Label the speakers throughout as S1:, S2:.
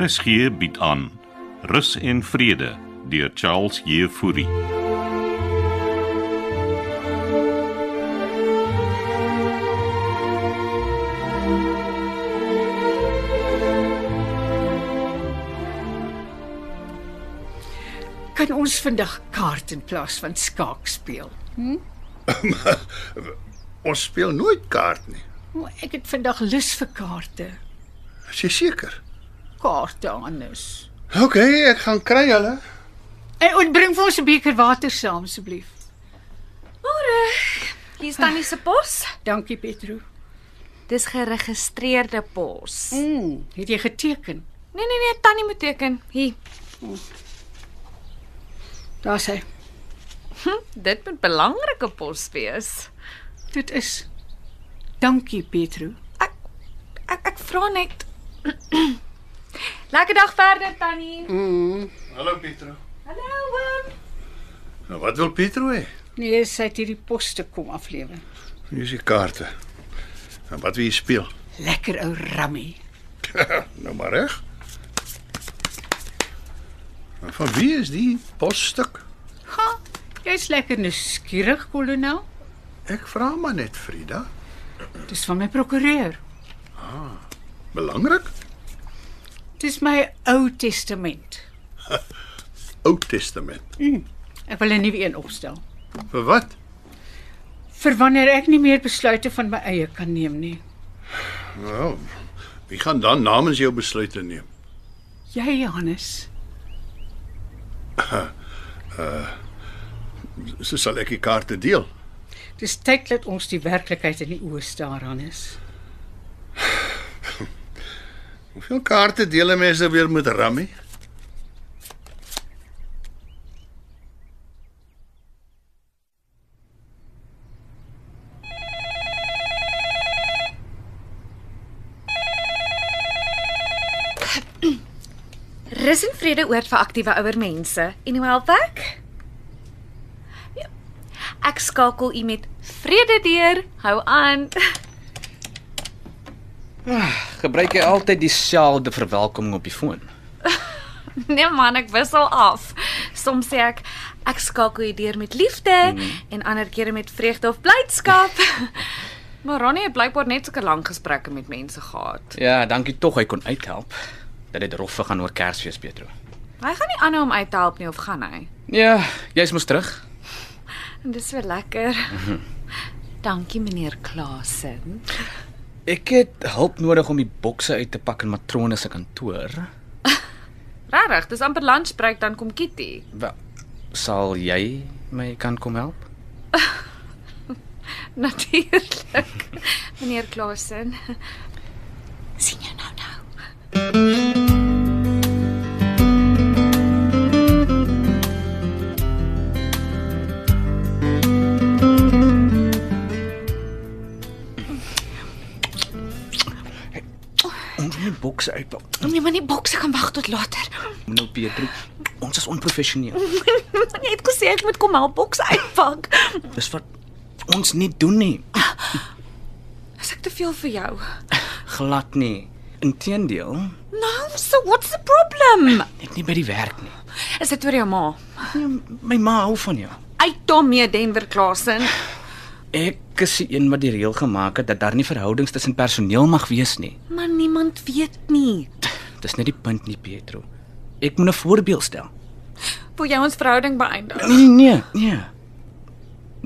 S1: RSG bied aan Rus en Vrede deur Charles Jefouri.
S2: Kan ons vandag kaart in plaas van skaak speel?
S3: Ons speel nooit kaart nie.
S2: Maar ek het vandag lus vir kaarte.
S3: Is jy seker?
S2: Kaarte anders.
S3: OK, ek gaan kry hulle.
S2: En en bring vir ons 'n beker water saam asseblief.
S4: Hier staan nie se pos.
S2: Dankie Petro.
S4: Dis geregistreerde pos.
S2: Mm, het jy geteken?
S4: Nee nee nee, tannie moet teken. Hier.
S2: Daar's hy.
S4: Hm, Dit moet belangrike pos wees.
S2: Dit is Dankie Petro.
S4: Ek ek, ek vra net. Lekker dag verder tannie.
S3: Hallo Pietro.
S4: Hallo oom.
S3: Nou wat wil Pietro hê?
S2: Nee, sy het hierdie pos te kom aflewer.
S3: Hier is die kaarte. En wat wil jy speel?
S2: Lekker ou rammy.
S3: Nou maar reg. En van wie is die posstuk?
S2: Ha, jy's lekker nuuskierig, kolonel.
S3: Ek vra maar net, Frida.
S2: Dis van my prokureur.
S3: Belangrik?
S2: Dis my Ou Testament.
S3: Ou Testament.
S2: Ek wil 'n nuwe een opstel.
S3: Vir wat?
S2: vir wanneer ek nie meer besluite van my eie kan neem nie.
S3: Nou, wie gaan dan namens jou besluite neem?
S2: Jy Johannes,
S3: So sal ek die kaarte deel.
S2: dis tyd dat ons die werklikheid in die oë staar, Johannes.
S3: Hoeveel kaarte deel 'n mens nou weer met Rammy?
S4: Rus en vrede oor vir aktiewe ouer mense en hoe help ek? Ja, Ek skakel u met vrede deur. Hou aan.
S5: Gebruik jy altyd dieselfde verwelkoming op die foon?
S4: Nee man, ek wissel af. Soms sê ek ek skakel u deur met liefde en ander kere met vreugde of blydskap. maar Ronnie het blykbaar net sulke lang gesprekke met mense gehad.
S5: Ja, dankie tog hy kon uithelp. Dat dit rof gaan oor Kersfees, Petro.
S4: Hy gaan nie aanhou om uit te help nie of gaan hy?
S5: Ja, jy's mos terug.
S4: En dis weer lekker. Dankie meneer Klasen.
S5: Ek het hulp nodig om die bokse uit te pak in matrone se kantoor.
S4: Regtig, dis amper lunchbreek dan kom Kitty.
S5: Wel, sal jy my kan kom help?
S4: Natuurlik. Meneer Klasen. sien jou nou nou.
S5: Ons moet die bokse uitpak.
S4: Nee, maar nie bokse kan wag tot later.
S5: Nou Petro, ons is onprofessioneel.
S4: Jy het gesê ek moet kom help bokse uitpak.
S5: Dis wat ons nie doen nie.
S4: Is ek te veel vir jou?
S5: Glad nie. Inteendeel,
S4: Nou, so what's the problem?
S5: net nie by die werk nie.
S4: Is dit oor jou ma?
S5: Nee, My ma hou van jou.
S4: Uit daarmee Denver Klasen.
S5: Ek is die een wat die reël gemaak het dat daar nie verhoudings tussen personeel mag wees nie.
S4: Maar niemand weet nie.
S5: Dis net die punt nie, Pietro. Ek moet 'n voorbeeld stel.
S4: Wil jy ons verhouding beëindig?
S5: Nee, nee, nee.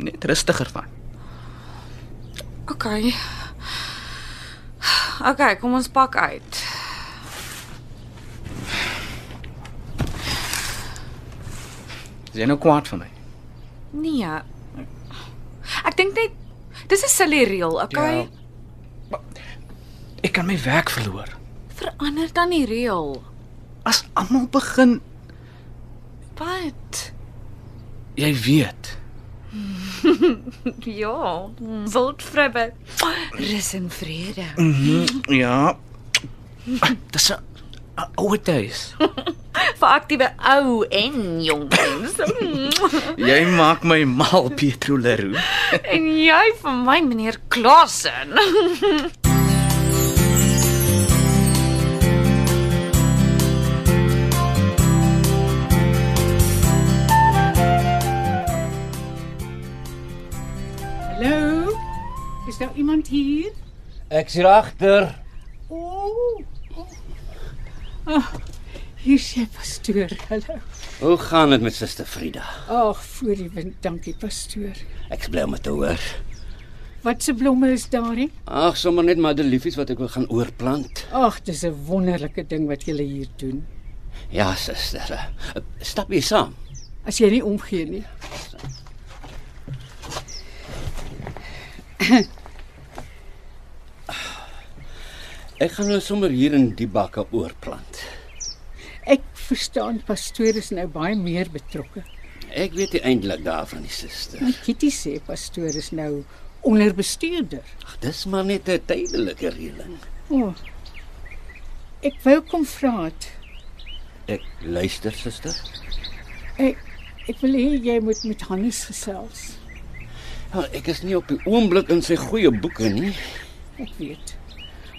S5: Net rustiger van.
S4: OK. OK, kom ons pak uit.
S5: Is jy nou kwaad vir my?
S4: Nee. Ek dink net dis 'n silly reël, okay?
S5: Ja. Ek kan my werk verloor.
S4: Verander dan die reël.
S5: As almal begin,
S4: Wat?
S5: jy weet.
S4: Ja, wildvribbe. Rus en vrede.
S5: Ja. Ah, Dis 'n 'n ouer huis.
S4: Vir aktiewe ou en jong mense.
S5: Jy maak my mal, Pietro Leroux.
S4: en jy vir my meneer Klasen.
S2: iemand hier?
S6: Ek sien agter.
S2: Ooh. Oh, hier sê pastoor. Hallo.
S6: Hoe gaan dit met Suster Frida?
S2: Ag, voor die wind, dankie pastoor.
S6: Ek is bly om dit te hoor.
S2: Wat se blomme is daar hè?
S6: Ag, sommer net maar die liefies wat ek wil gaan oorplant.
S2: Ag, dis 'n wonderlike ding wat julle hier doen.
S6: Ja, suster. eh, Stap hier saam.
S2: As jy nie omgee nie.
S6: Ek gaan hulle sommer hier in die bakke oorplant.
S2: Ek verstaan pastoor is nou baie meer betrokke.
S6: Ek weet nie eintlik daarvan nie, suster.
S2: Maar Kitty sê pastoor is nou onderbestuurder.
S6: Ag, dis maar net 'n tydelike reëling.
S2: O. Oh. Ek wou kom vra het.
S6: Ek luister, suster.
S2: Ek ek wil hê jy moet met Hannes gesels.
S6: Ja, ek is nie op die oomblik in sy goeie boeke nie.
S2: Ek weet.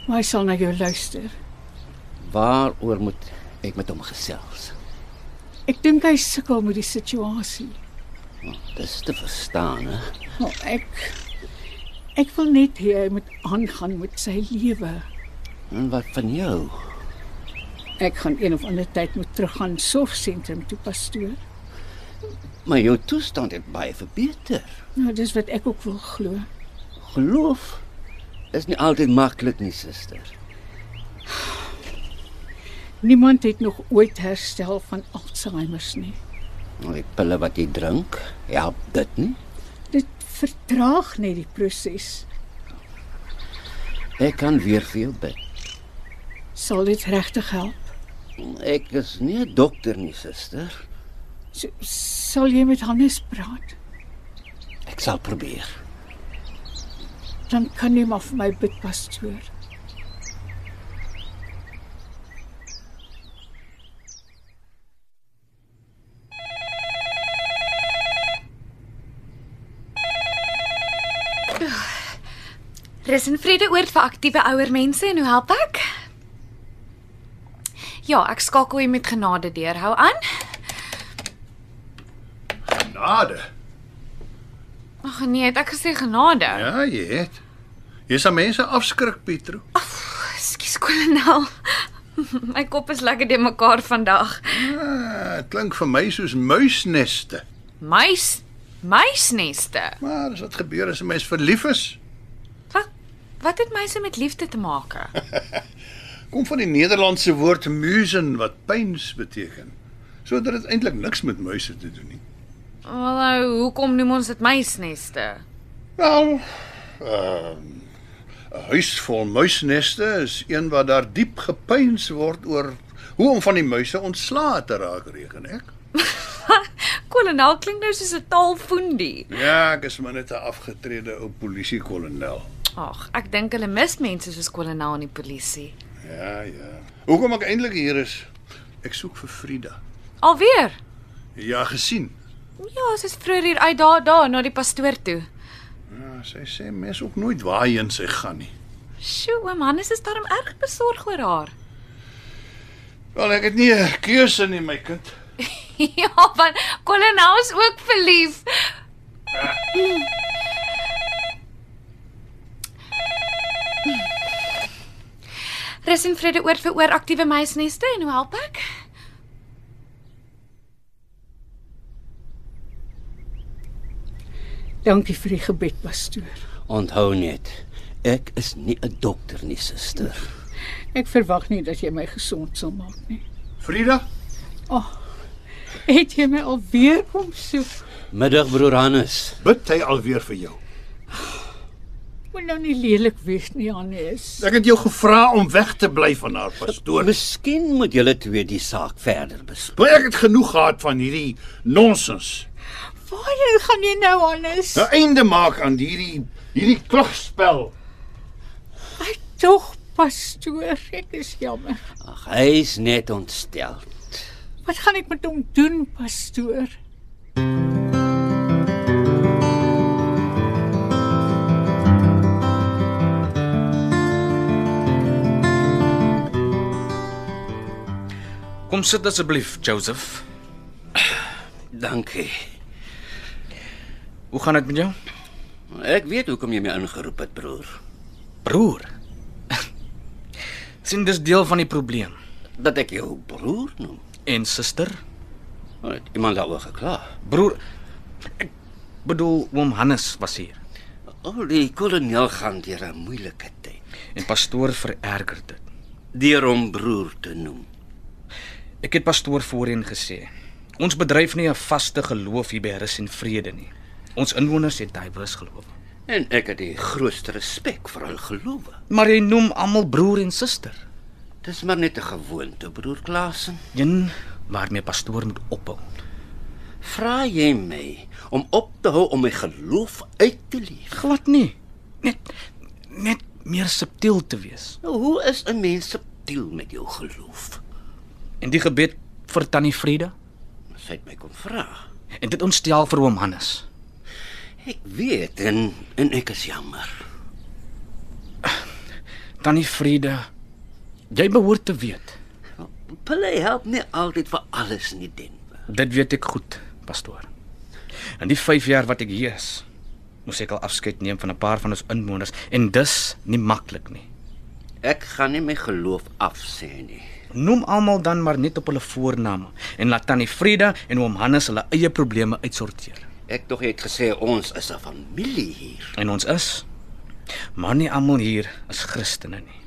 S2: Maar hy sal na jou luister.
S6: Waaroor moet ek met hom gesels?
S2: Ek dink hy sukkel met die situasie.
S6: Dis te verstaan, hè?
S2: Nou, ek ek wil net hê hy moet aangaan met sy lewe.
S6: En wat van jou?
S2: Ek gaan een of ander tyd moet teruggaan sorgsentrum toe pastoor.
S6: Maar jou toestand het baie verbeter.
S2: Nou dis wat ek ook wil glo.
S6: Geloof is nie altyd maklik nie, suster.
S2: Niemand het nog ooit herstel van Alzheimer nie.
S6: Nou, Die pille wat jy drink, help dit nie.
S2: Dit vertraag net die proses.
S6: Ek kan weer vir jou bid.
S2: Sal dit regtig help?
S6: Ek is nie 'n dokter nie, suster.
S2: So, sal jy met Hannes praat?
S6: Ek sal probeer.
S2: Dan kan jy maar vir my bid pastoor.
S4: Rus en vrede oor vir aktiewe ouer mense en hoe help ek? Ja, ek skakel hier met genade deur. Hou aan.
S3: Nade.
S4: Ag nee, het ek gesê genade.
S3: Ja, jy het. Jy sal mense afskrik, Pietro.
S4: Ekskuus, kolonel. My kop is lekker de mekaar vandag.
S3: Ah, dit klink vir my soos muisneste.
S4: Muis, muisneste.
S3: Maar as wat gebeur as 'n mens verlief is,
S4: Wat wat het muise met liefde te maak?
S3: kom van die Nederlandse woord musen wat pyns beteken. Sodat dit eintlik niks met muise te doen nie.
S4: Wel, nou, hoekom noem ons dit muisneste?
S3: Wel, ehm 'n huis vol muisneste is een wat daar diep gepyns word oor hoe om van die muise ontslae te raak, reken ek.
S4: Kolonel klink nou soos 'n taalfoendie.
S3: Ja, ek is maar net 'n afgetrede ou polisiekolonel.
S4: Ag, ek dink hulle mis mense soos kolonel en die polisie.
S3: Ja, ja. Hoekom ek eintlik hier is? Ek soek vir Frida.
S4: Alweer.
S3: Ja, gesien.
S4: Ja, sy's vroeër hier uit daar daar na die pastoor toe.
S3: Ja, sy sê mens ook nooit waarheen sy gaan nie.
S4: Sjoe, oom Hannes is darm erg besorg oor haar.
S3: Wel, ek het nie 'n keuse nie, my kind.
S4: ja, want kolonel is ook verlief. Rus en vrede oor vir oor aktiewe muisneste en hoe help ek?
S2: Dankie vir die gebed pastoor.
S6: Onthou net, ek is nie 'n dokter nie, suster.
S2: Ek verwag nie dat jy my gesond sal maak nie.
S3: Frida?
S2: Het jy my alweer kom soek?
S6: Middag broer Hannes.
S3: Bid hy alweer vir jou?
S2: Moet nou nie lelik wees nie, Hannes.
S3: Ek het jou gevra om weg te bly van haar pastoor.
S6: Miskien moet julle twee die saak verder bespreek.
S3: Maar ek het genoeg gehad van hierdie nonsens.
S2: Waarheen gaan jy nou, Hannes?
S3: 'n Einde maak aan hierdie hierdie klugspel.
S2: Hy tog pastoor, ek is jammer.
S6: Ag, hy's net ontstel.
S2: Wat gaan ek met hom doen, pastoor?
S5: Kom sit asseblief, Joseph.
S6: Dankie.
S5: Hoe gaan dit met jou?
S6: Ek weet hoekom jy my ingeroep het, broer.
S5: Broer. sien dis deel van die probleem.
S6: dat ek jou broer noem.
S5: En suster,
S6: Maar Het iemand daaroor gekla.
S5: broer ek bedoel oom Hannes was hier
S6: Al die kolonel gaan deur 'n moeilike tyd.
S5: en pastoor vererger dit.
S6: Deur hom broer te noem.
S5: Ek het pastoor voorheen gesê. Ons bedryf nie 'n vaste geloof hier by Rus en Vrede nie. Ons inwoners het diverse geloof.
S6: En ek het die grootste respek vir hul gelowe.
S5: Maar hy noem almal broer en suster.
S6: Dis maar net 'n gewoonte, broer Klasen.
S5: Een waarmee pastoor moet ophou.
S6: Vra jy my om op te hou om my geloof uit te leef?
S5: Glad nie. Net net meer subtiel te wees.
S6: Nou, hoe is 'n mens subtiel met jou geloof?
S5: En die gebed vir tannie Frieda
S6: Sy het my kom vra.
S5: en dit ontstel vir oom Hannes.
S6: Ek weet en en ek is jammer.
S5: Tannie Frieda, jy behoort te weet.
S6: Pille help nie altyd vir alles in die denwe.
S5: Dit weet ek goed, pastoor. In die 5 jaar wat ek hier is, moes ek al afskeid neem van 'n paar van ons inwoners en dis nie maklik nie.
S6: Ek gaan nie my geloof afsê nie.
S5: Noem almal dan maar net op hulle voorname en laat tannie Frieda en oom Hannes hulle eie probleme uitsorteer.
S6: Ek tog jy het gesê ons is 'n familie hier.
S5: En ons is maar nie almal hier is Christene nie.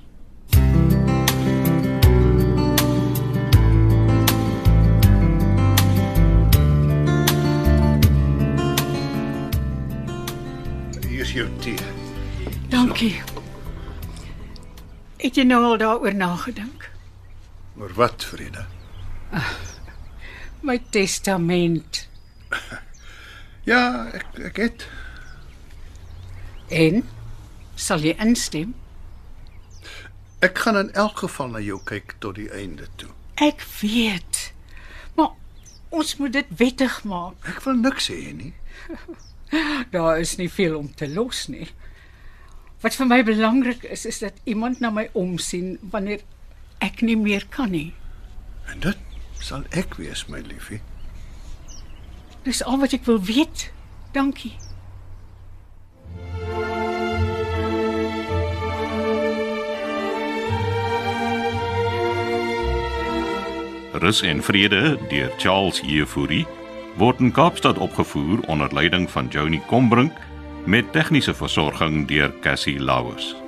S3: Hier is jou tee.
S7: Dankie. Het jy nou al daaroor nagedink?
S3: Maar wat, Vrede?
S7: My testament.
S3: Ja, ek ek het
S7: En sal jy instem?
S3: ek gaan in elk geval na jou kyk tot die einde toe.
S7: Ek weet. Maar ons moet dit wettig maak.
S3: Ek wil niks hê nie.
S7: Daar is nie veel om te los nie. Wat vir my belangrik is, is dat iemand na my omsien wanneer ek nie meer kan nie.
S3: En dit sal ek wees, my liefie.
S7: Dis al wat ek wil weet. Dankie.
S1: Rus en Vrede deur Charles Jefouri word in Kaapstad opgevoer onder leiding van Johnny Combrink met tegniese versorging deur Cassie Lauers.